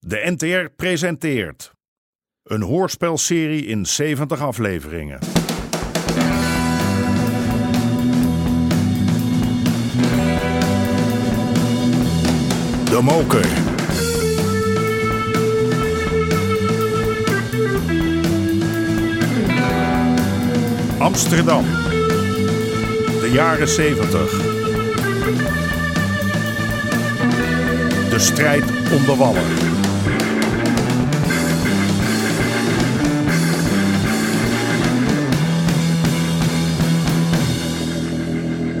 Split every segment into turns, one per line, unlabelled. De NTR presenteert een hoorspelserie in 70 afleveringen. De Moker. Amsterdam. De jaren 70. De strijd om de wallen.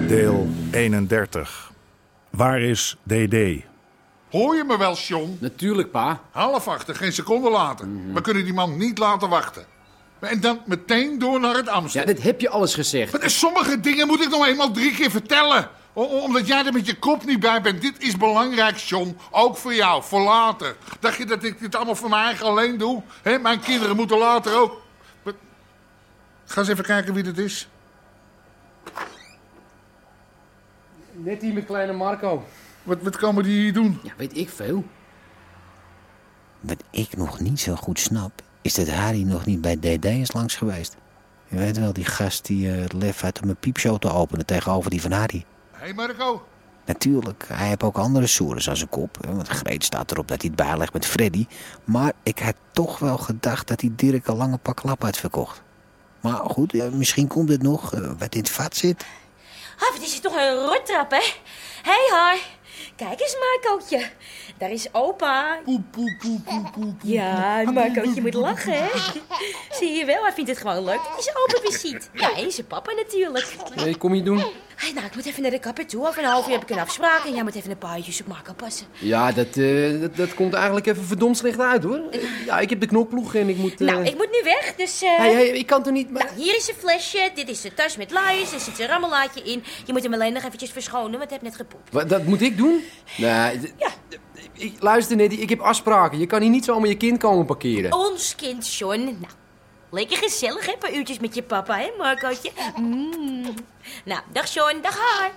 Deel 31. Waar is DD?
Hoor je me wel, John?
Natuurlijk, pa.
Half achter, geen seconde later. We kunnen die man niet laten wachten. En dan meteen door naar het
Ja,
Amsterdam.
dit heb je alles gezegd.
Maar er- Sommige dingen moet ik nog eenmaal drie keer vertellen. O- o- omdat jij er met je kop niet bij bent. Dit is belangrijk, John. Ook voor jou, voor later. Dacht je dat ik dit allemaal voor mijn eigen alleen doe? Hè, mijn kinderen moeten later ook... Maar- Ga eens even kijken wie dit is.
Net hier met kleine Marco.
Wat, wat komen die hier doen?
Ja, weet ik veel.
Wat ik nog niet zo goed snap, is dat Harry nog niet bij DD is langs geweest. Je weet wel, die gast die eh, het lef had om een piepshow te openen tegenover die van Harry.
Hé, hey Marco.
Natuurlijk, hij heeft ook andere soeres aan zijn kop. hè, Want Greet staat erop dat hij het bijlegt met Freddy. Maar ik had toch wel gedacht dat hij Dirk een lange pak klap had verkocht. Maar goed, eh, misschien komt het nog eh, wat in het vat zit.
Ah, wat is het toch een rottrap, hè? Hé, haar. Kijk eens, Marcootje. Daar is opa.
Poe, poe, poe, poe, poe, poe.
Ja, Marcootje moet lachen, hè? Zie je wel, hij vindt het gewoon leuk dat hij zijn opa weer ziet. Ja, en zijn papa natuurlijk.
Nee, kom je doen?
Hey, nou, ik moet even naar de kapper toe. Over een half uur heb ik een afspraak en jij moet even een paar uurtjes op Marco passen.
Ja, dat, eh, dat, dat komt eigenlijk even verdomd slecht uit, hoor. Eh, Ja, ik heb de knopploeg en ik moet... eh,
Nou, ik moet nu weg, dus... eh,
Hey, hey, ik kan toch niet... Maar...
Nou, hier is een flesje, dit is de tas met luiers, er zit een rammelaatje in. Je moet hem alleen nog eventjes verschonen, want hij heeft net gepoept.
Wat, dat moet ik doen? Nee, d-
Ja.
ik, luister, Nettie, ik heb afspraken. Je kan hier niet zomaar je kind komen parkeren.
Ons kind, John. Nou, lekker gezellig, hè? Een paar uurtjes met je papa, hè, Marcootje? Mm. Nou, dag, John. Dag, haar.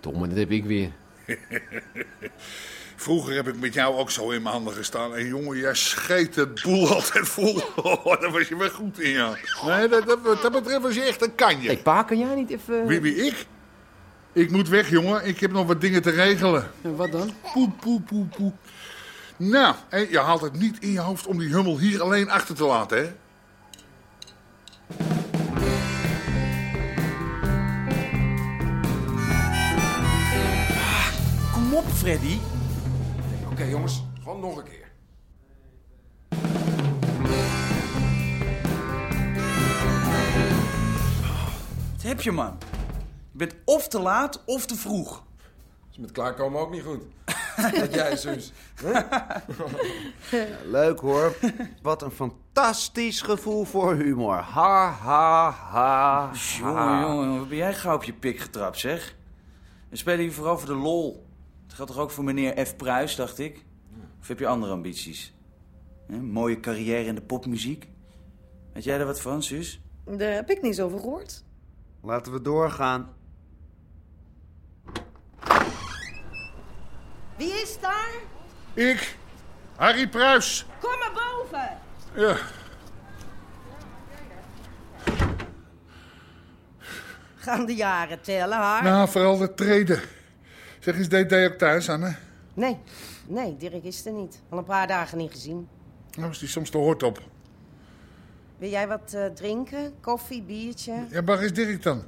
Domme, dat heb ik weer.
Vroeger heb ik met jou ook zo in mijn handen gestaan. En jongen, jij scheet het boel altijd vol. Oh, daar was je wel goed in, ja. Nee, dat, dat, wat dat betreft was je echt een
Hé,
kanje.
pa, kan jij niet even...
Wie, wie, ik? Ik moet weg, jongen. Ik heb nog wat dingen te regelen.
Eh, Wat dan?
Poe, poe, poe, poe. Nou, hé, je haalt het niet in je hoofd om die hummel hier alleen achter te laten, hè?
Kom op, Freddy. Oké, jongens, gewoon nog een keer. Wat heb je, man? Je bent of te laat of te vroeg.
Is met klaarkomen ook niet goed. Dat jij, zus.
Leuk hoor. Wat een fantastisch gevoel voor humor. Ha, ha, ha.
Jongen, jongen, wat ben jij gauw op je pik getrapt, zeg? We spelen hier vooral voor de lol. Dat geldt toch ook voor meneer F. Pruis, dacht ik? Of heb je andere ambities? Hè, mooie carrière in de popmuziek? Weet jij daar wat van, zus?
Daar heb ik niks over gehoord.
Laten we doorgaan.
Wie is daar?
Ik, Harry Pruis.
Kom maar boven!
Ja.
Gaan de jaren tellen, haar?
Nou, vooral dat treden. Zeg eens, deed jij ook thuis aan, hè?
Nee, nee, Dirk is er niet. Al een paar dagen niet gezien.
Nou, is die soms de hoort op.
Wil jij wat eh, drinken? Koffie, biertje?
Ja, waar is Dirk dan?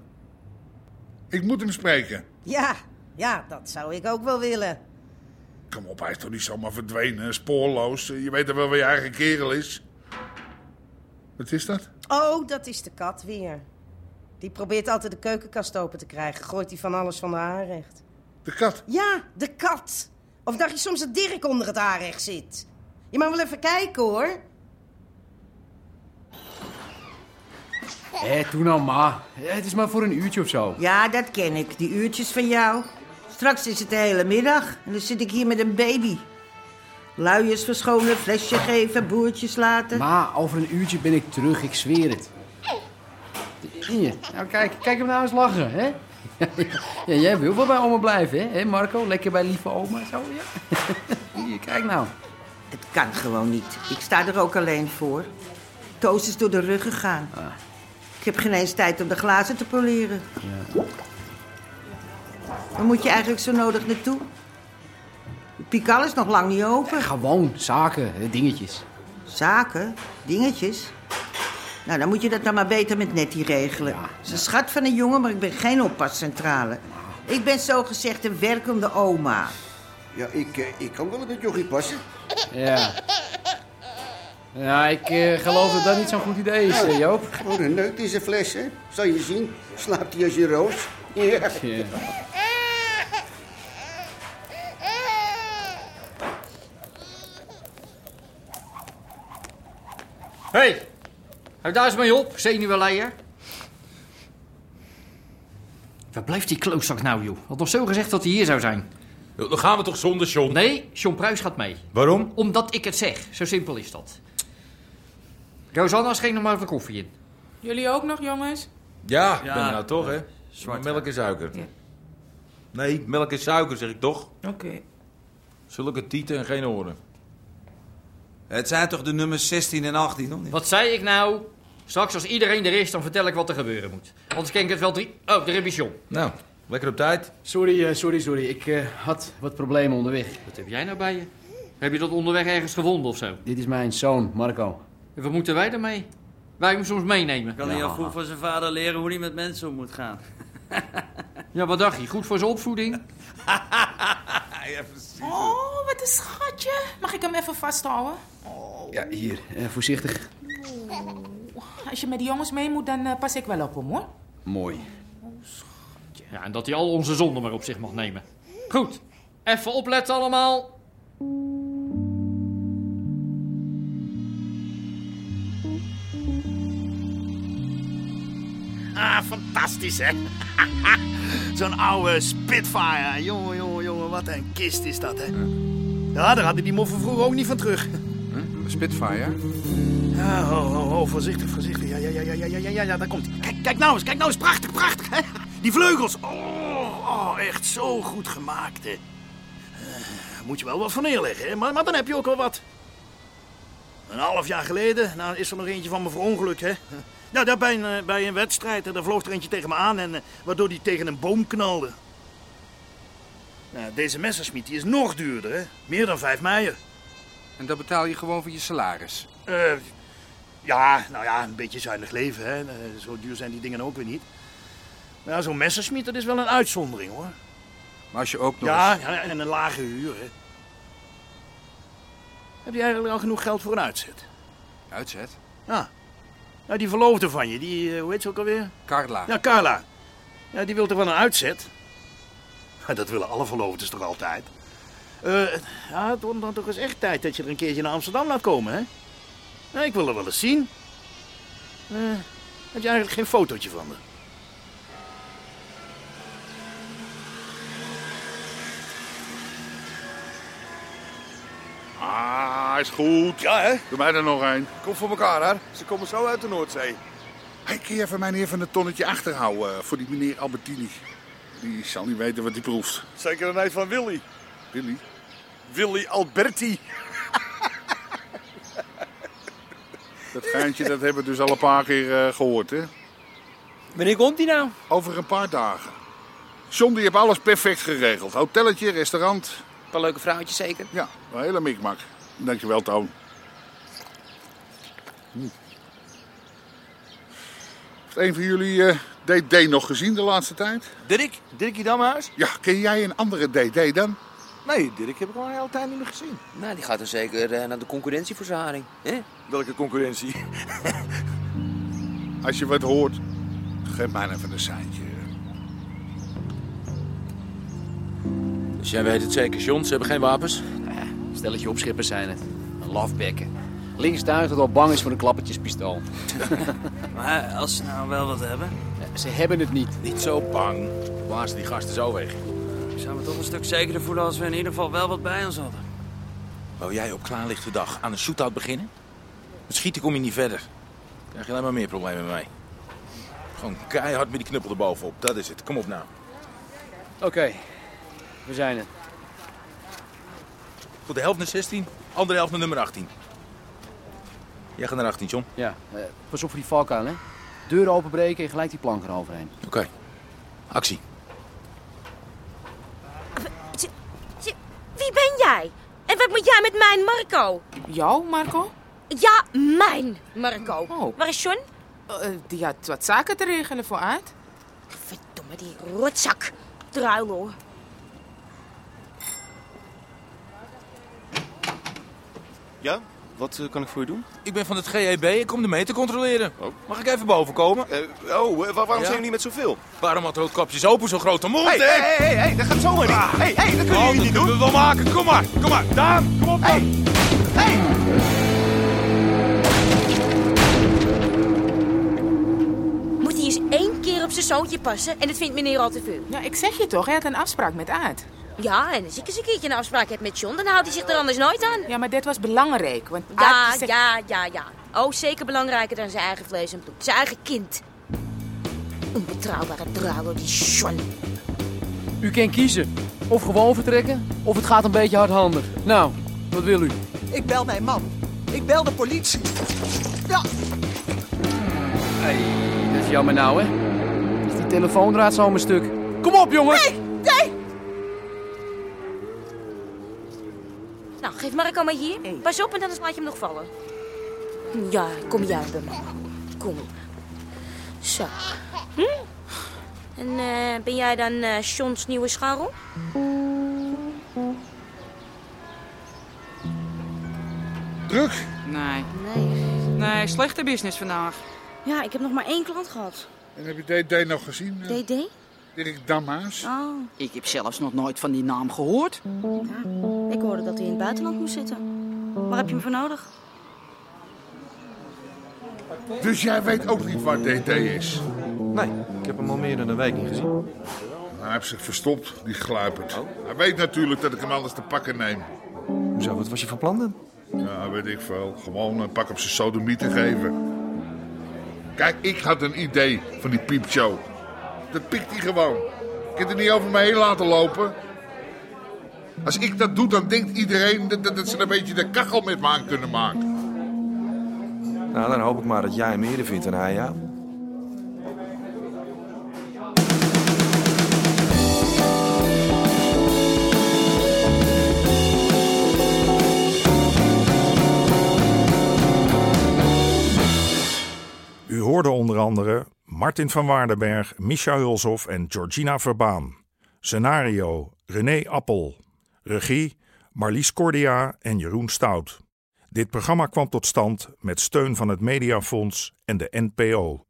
Ik moet hem spreken.
Ja, ja, dat zou ik ook wel willen.
Kom op, hij is toch niet zomaar verdwenen, spoorloos. Je weet toch wel waar je eigen kerel is. Wat is dat?
Oh, dat is de kat weer. Die probeert altijd de keukenkast open te krijgen. Gooit die van alles van de aanrecht.
De kat.
Ja, de kat. Of dacht je soms dat Dirk onder het aanrecht zit? Je mag wel even kijken, hoor.
Hé, doe nou, ma. Eh, Het is maar voor een uurtje of zo.
Ja, dat ken ik, die uurtjes van jou. Straks is het de hele middag en dan zit ik hier met een baby. Luiers verschonen, flesje geven, boertjes laten.
Ma, over een uurtje ben ik terug, ik zweer het. Zie je? Nou, kijk, kijk hem nou eens lachen, hè? Ja, jij wil wel bij oma blijven, hè? hè, Marco? Lekker bij lieve oma en zo, ja? Hier, kijk nou.
Het kan gewoon niet. Ik sta er ook alleen voor. Toos is door de rug gegaan. Ik heb geen eens tijd om de glazen te poleren. Waar moet je eigenlijk zo nodig naartoe? De Pikal is nog lang niet open.
Gewoon, zaken, hè, dingetjes.
Zaken? Dingetjes? Nou, dan moet je dat nou maar beter met Nettie regelen. Ze is een schat van een jongen, maar ik ben geen oppascentrale. Ik ben zogezegd een werkende oma.
Ja, ik, eh, ik kan wel op het jochie passen.
Ja. Ja, ik eh, geloof dat dat niet zo'n goed idee is, eh, Joop.
Wat een neuk Oh, deze fles, hè? Zal je zien. Slaapt hij als je roos? Ja.
Ja.
Hé, hey, houd daar eens mee op, zenuwenleier. Waar blijft die klootzak nou, joh? Had nog zo gezegd dat hij hier zou zijn. Nou, Dan gaan we toch zonder John? Nee, John Pruis gaat mee. Waarom? Omdat ik het zeg. Zo simpel is dat. Rosanna, schenk nog maar even koffie in.
Jullie ook nog, jongens?
Ja,
Ja.
ben je nou toch, hè? Zwart melk en suiker. Nee, melk en suiker, zeg ik toch?
Oké.
Zulke tieten en geen oren.
Het zijn toch de nummers 16 en 18, hoor?
Wat zei ik nou? Straks als iedereen er is, dan vertel ik wat er gebeuren moet. Anders ken ik het wel drie... Oh, de revision.
Nou, lekker op tijd.
Sorry, eh, sorry, sorry. Ik eh, had wat problemen onderweg.
Wat heb jij nou bij je? Heb je dat onderweg ergens gevonden of zo?
Dit is mijn zoon, Marco.
En wat moeten wij daarmee? Wij hem soms meenemen.
Kan hij al goed van zijn vader leren hoe hij met mensen om moet gaan?
Ja, wat dacht je? Goed voor zijn opvoeding?
Oh, wat een schatje. Mag ik hem even vasthouden? Oh.
Ja, hier, eh, voorzichtig.
Als je met die jongens mee moet, dan eh, pas ik wel op hem, hoor.
Mooi. Ja, en dat hij al onze zonden maar op zich mag nemen. Goed, even opletten allemaal.
Ah, fantastisch, hè? Zo'n oude Spitfire. Jongen, jongen, jongen, wat een kist is dat, hè? Ja, daar hadden die moffen vroeger ook niet van terug.
Spitfire?
Ja, ho, ho, ho, voorzichtig, voorzichtig. Ja, ja, ja, ja, ja, ja, ja, ja, ja, daar komt ie. Kijk, kijk nou eens, kijk nou eens. Prachtig, prachtig, hè? Die vleugels. Oh, oh echt zo goed gemaakt, hè? Eh, moet je wel wat van neerleggen, hè? Maar, maar dan heb je ook wel wat. Een half jaar geleden, nou is er nog eentje van me verongelukt, hè? Nou, daar bij een, eh, bij een wedstrijd, hè, daar vloog er eentje tegen me aan en eh, waardoor die tegen een boom knalde. Nou, deze Messerschmitt die is nog duurder, hè? Meer dan vijf meijer.
En dat betaal je gewoon van je salaris?
Eh, ja, nou ja, een beetje zuinig leven, hè. Eh, Zo duur zijn die dingen ook weer niet. Maar ja, Nou, zo'n Messerschmitt, dat is wel een uitzondering, hoor.
Maar als je ook nog
Ja,
eens-
ja, en een lage huur, hè. Heb je eigenlijk al genoeg geld voor een uitzet?
Uitzet?
Ja. Nou, die verloofde van je, die, eh, hoe heet ze ook alweer?
Carla.
Ja, Carla. Ja, die wil toch wel een uitzet? Ja, Dat willen alle verloofdes toch altijd? Eh, ja, het wordt dan toch eens echt tijd dat je er een keertje naar Amsterdam laat komen, hè? Ja, ik wil er wel eens zien. Eh, heb je eigenlijk geen fotootje van me?
Ah, is goed. Ja, hè? Doe mij er nog een. Kom voor elkaar, hè? Ze komen zo uit de Noordzee. Hey, kun je even mijn heer van het tonnetje achterhouden eh, voor die meneer Albertini? Die zal niet weten wat hij proeft.
Zeker een neef van Willy.
Willy?
Willy Alberti.
Dat geintje, dat hebben we dus al een paar keer eh, gehoord, hè?
Wanneer komt hij nou?
Over een paar dagen. John, die heeft alles perfect geregeld. Hotelletje, restaurant. Een
paar leuke vrouwtjes zeker?
Ja, een hele mikmak. Dankjewel, Toon. Hm. Heeft een van jullie eh DD nog gezien de laatste tijd?
Dirk? Dirkie Damhuis?
Ja, ken jij een andere DD dan?
Nee, Dirk heb ik al een hele tijd niet meer gezien.
Nou, die gaat er zeker eh, naar de concurrentie voor zijn haring. Hè?
Welke concurrentie?
Als je wat hoort, geef mij even een seintje.
Dus jij weet het zeker, John? Ze hebben geen wapens?
Stelletje opschippers zijn het. Een lafbekken. Links duikt dat al bang is voor een klappertjespistool.
Maar als ze nou wel wat hebben...
Eh, Ze hebben het niet.
Niet zo bang.
Baas, die gasten zo weg.
Ik zou me toch een stuk zekerder voelen als we in ieder geval wel wat bij ons hadden.
Wou jij op klaarlichte dag aan een shootout beginnen?
Met schieten kom je niet verder. Krijg je alleen maar meer problemen mee.
Gewoon keihard met die knuppel erbovenop. Dat is het. Kom op nou.
Oké, we zijn er.
Goed, de helft naar 16, andere helft naar nummer 18. Jij gaat naar 18, John.
Ja, eh, pas op voor die valkuil, hè. Deuren openbreken en gelijk die plank eroverheen.
Oké. Actie.
Wie ben jij? En wat moet jij met mijn Marco?
Jou, Marco?
Ja, mijn Marco.
Oh.
Waar is John?
Eh, die had wat zaken te regelen voor Aad.
Verdomme, die rotzak. Druilo.
Ja? Wat eh, kan ik voor je doen?
Ik ben van het GEB, ik kom de meter controleren. Mag ik even boven komen?
oh, eh, wa- waarom zijn jullie met zoveel?
Waarom had roodkapjes open zo'n grote mond,
Hey,
hè?
hey, hey, hey, hey, dat gaat zomaar niet. Hey, hey, dat kunnen jullie niet doen.
We wel maken, kom maar, kom maar. Daan, kom op. Hey.
Moet hij eens één keer op zijn zoontje passen en dat vindt meneer al te veel.
Ja, Nou, ik zeg je toch, hij had een afspraak met Aad.
Ja, en als ik eens een keertje een afspraak heb met John, dan houdt hij zich er anders nooit aan.
Ja, maar dit was belangrijk, want Aad
Ja,
die zegt-
ja, ja, ja. Oh, zeker belangrijker dan zijn eigen vlees en bloed. Zijn eigen kind. Onbetrouwbare druilo, die John.
U kan kiezen. Of gewoon vertrekken, of het gaat een beetje hardhandig. Nou, wat wil u?
Ik bel mijn man. Ik bel de politie. Ja,
Hey, dat is jammer nou, hè. Is die telefoondraad zomaar stuk. Kom op, jongen!
Nou, geef Marco maar hier. Pas op en dan laat je hem nog vallen. Ja, kom jij bij mij. Kom. Zo. Hm? En eh, ben jij dan eh Johns nieuwe scharrel?
Druk?
Nee. Nee. slechte business vandaag.
Ja, ik heb nog maar één klant gehad.
En heb je DD nog gezien? eh,
DD?
Dirk Dammaas?
Oh.
Ik heb zelfs nog nooit van die naam gehoord.
Ik hoorde dat hij in het buitenland moest zitten. Waar heb je hem voor nodig?
Dus jij weet ook niet waar DD is?
Nee, ik heb hem al meer dan een week niet gezien.
Hij heeft zich verstopt, die gluipert. Hij weet natuurlijk dat ik hem anders te pakken neem.
Hoezo, wat was je van plan dan?
Ja, weet ik veel. Gewoon een pak op zijn sodomie te geven. Kijk, ik had een idee van die piepshow. Dat pikt hij gewoon. Ik heb het niet over me heen laten lopen. Als ik dat doe, dan denkt iedereen dat, dat- dat ze een beetje de kachel met me aan kunnen maken.
Nou, dan hoop ik maar dat jij hem eerder vindt dan hij jou.
U hoorde onder andere Martin van Waardenberg, Micha Hulshoff en Georgina Verbaan. Scenario René Appel. Regie Marlies Cordia en Jeroen Stout. Dit programma kwam tot stand met steun van het Mediafonds en de NPO.